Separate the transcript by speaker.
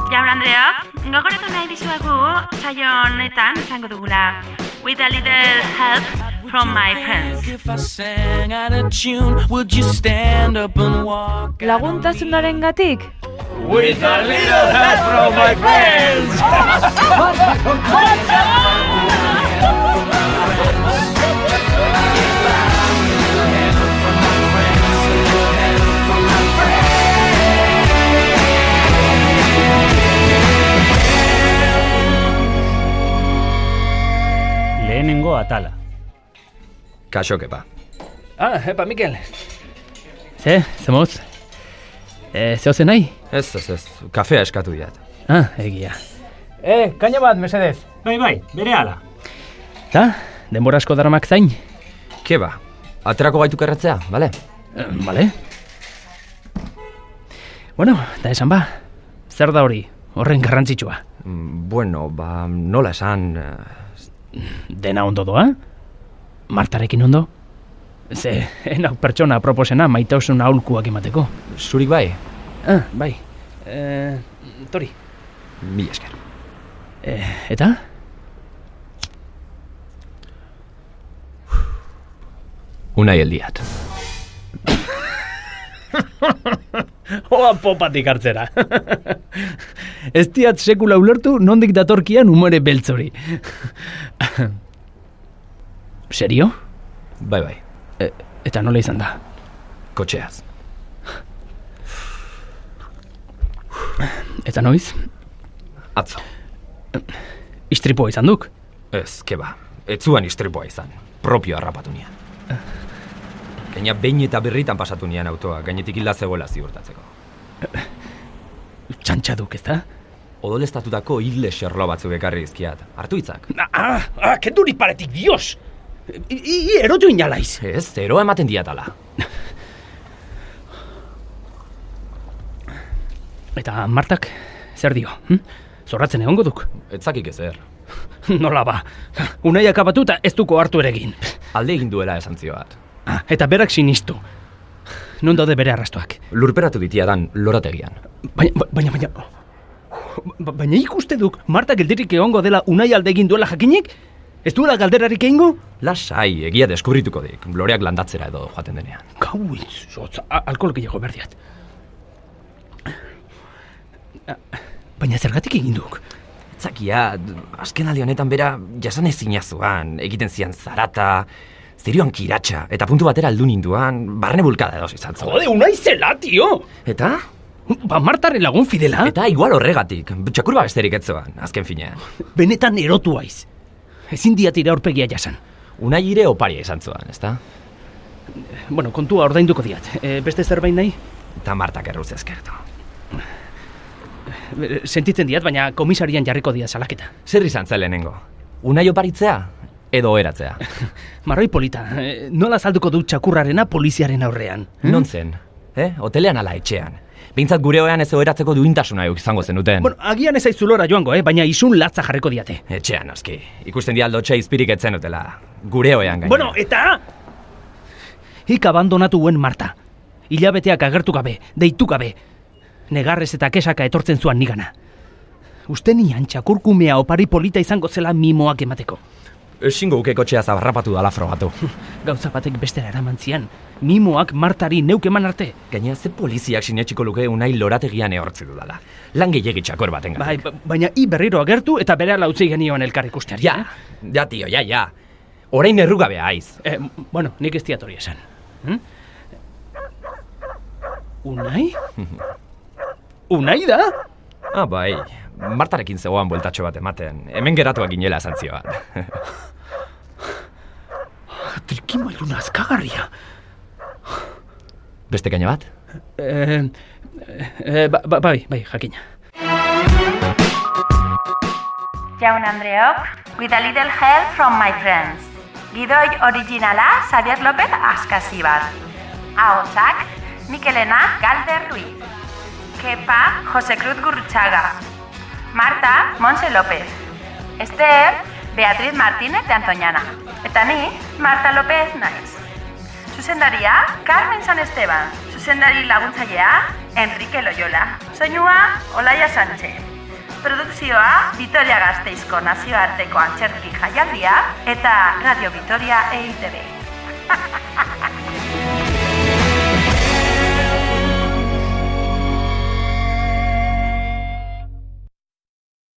Speaker 1: entzulea, gogoratu nahi dizuagu saio honetan izango dugula With a little help from my friends.
Speaker 2: If I sang out of tune, would you stand up and walk?
Speaker 3: Laguntasunaren gatik?
Speaker 4: With a little help from my friends!
Speaker 5: Lehenengo atala.
Speaker 4: Kaso kepa.
Speaker 6: Ah, epa, Mikel.
Speaker 7: Ze, ze moz? E, zeo zen nahi?
Speaker 4: Ez, ez, ez. Kafea eskatu diat.
Speaker 7: Ah, egia.
Speaker 6: Eh, kaina bat, mesedez.
Speaker 5: Bai, bai, bere ala.
Speaker 7: Ta, denbora asko daramak zain?
Speaker 4: Keba, aterako gaitu kerratzea, bale?
Speaker 7: E, bale. Bueno, da esan ba. Zer da hori, horren garrantzitsua.
Speaker 4: Mm, Bueno, ba, nola esan... eh,
Speaker 7: Dena ondo doa? Martarekin ondo? Ze, enau pertsona proposena maitasun aholkuak emateko.
Speaker 4: Zurik bai?
Speaker 7: Ah, bai.
Speaker 6: Eh,
Speaker 7: E, tori.
Speaker 4: Mil esker.
Speaker 7: E, eta?
Speaker 4: Unai eldiat.
Speaker 7: Hoa popatik hartzera. Ez diat sekula ulertu nondik datorkian umore beltzori. Serio?
Speaker 4: Bai, bai.
Speaker 7: E, eta nola izan da?
Speaker 4: Kotxeaz.
Speaker 7: Eta noiz?
Speaker 4: Atzo.
Speaker 7: Istripoa izan duk?
Speaker 4: Ez, keba. Etzuan istripoa izan. Propio harrapatu nian. Gaina behin eta berritan pasatu nian autoa, gainetik hilda zegoela ziurtatzeko.
Speaker 7: Txantxa duk, ez da?
Speaker 4: Odoleztatutako hile xerlo batzuk ekarri izkiat. Artu hitzak.
Speaker 7: Ah, ah, ah kenduri paretik, dios! I, i, i erotu inalaiz.
Speaker 4: Ez, zeroa ematen diatala.
Speaker 7: Eta Martak, zer dio? Hm? Zorratzen egongo duk?
Speaker 4: Etzakik ezer.
Speaker 7: Nola ba, unai akabatu eta ez duko hartu eregin.
Speaker 4: Alde egin duela esan zioat.
Speaker 7: Ah, eta berak sinistu. Non daude bere arrastoak?
Speaker 4: Lurperatu ditiadan lorategian.
Speaker 7: Baina, baina, baina... ba- Baina ikuste duk Marta geldirik egongo dela unai alde egin duela jakinik? Ez duela galderarik egingo?
Speaker 4: Lasai, egia deskubrituko dik, loreak landatzera edo joaten denean.
Speaker 7: Gau izotz, alkohol gehiago berdiat. Ah, Baina zergatik egin duk?
Speaker 4: Etzakia, askenaldi honetan bera jasan ezin egiten zian zarata, zerion kiratxa, eta puntu batera aldu ninduan, barne bulkada edo izan zuen.
Speaker 7: Jode, unai zela, tio!
Speaker 4: Eta?
Speaker 7: Ba, Martaren lagun fidela,
Speaker 4: Eta igual horregatik, txakurba besterik etzoan, azken finean.
Speaker 7: benetan erotu aiz. Ezin diatira aurpegia jasan.
Speaker 4: Unai ire oparia izan zuen, ezta?
Speaker 7: Bueno, kontua ordainduko diat. E, beste zerbait nahi?
Speaker 4: Eta martak erruz ezkertu.
Speaker 7: E, Sentitzen diat, baina komisarian jarriko diat salaketa.
Speaker 4: Zer izan zen lehenengo? Unai oparitzea? Edo eratzea?
Speaker 7: Hmm? Marroi polita, e, nola salduko du txakurrarena poliziaren aurrean?
Speaker 4: Non zen? Eh? Hotelean ala etxean. Behintzat gure hoean ez oheratzeko duintasuna euk izango zenuten.
Speaker 7: Bueno, agian ez aizulora joango, eh? baina isun latza jarriko eh. diate.
Speaker 4: Etxean, aski. Ikusten dialdo txe izpirik etzen dutela. Gure hoean gaina.
Speaker 7: Bueno, eta... Hik abandonatu huen Marta. Hilabeteak agertu gabe, deitu gabe. Negarrez eta kesaka etortzen zuan nigana. Uste nian txakurkumea opari polita izango zela mimoak emateko.
Speaker 4: Ezingo uke kotxea zabarrapatu dala frogatu.
Speaker 7: Gauza batek bestera eraman zian, mimoak Martari neuk eman arte.
Speaker 4: Gaina ze poliziak sinetxiko luke unai lorategian ehortzi dudala. Lan gehiagi txakor baten
Speaker 7: Bai, ba- baina i berriro agertu eta bere lautzi genioan elkar ikusteari.
Speaker 4: ja, ja, tio, ja, ja. Orain errugabea aiz.
Speaker 7: Eh, bueno, nik ez diat hori esan. Hm? Unai? Unai da?
Speaker 4: Ah, bai. Martarekin zegoan bueltatxo bat ematen. Hemen geratuak ginela esan zioan.
Speaker 7: Trikimailun azkagarria.
Speaker 4: Beste gaina bat?
Speaker 7: Eh, eh, ba, ba- bai, bai, jakina.
Speaker 1: Jaun Andreok, with a little help from my friends. Gidoi originala Xavier López Askasibar. Ahotsak, Mikelena Galder Ruiz. Kepa Jose Cruz Gurruchaga. Marta Monse López. Esther Beatriz Martínez de Antoñana. Eta ni Marta López naiz. Zuzendaria Carmen San Esteban. Zuzendari laguntzailea Enrique Loyola. Soinua Olaia Sánchez. Produkzioa Vitoria Gasteizko E nazioarteko antzerki jaialdia eta Radio Vitoria EITB.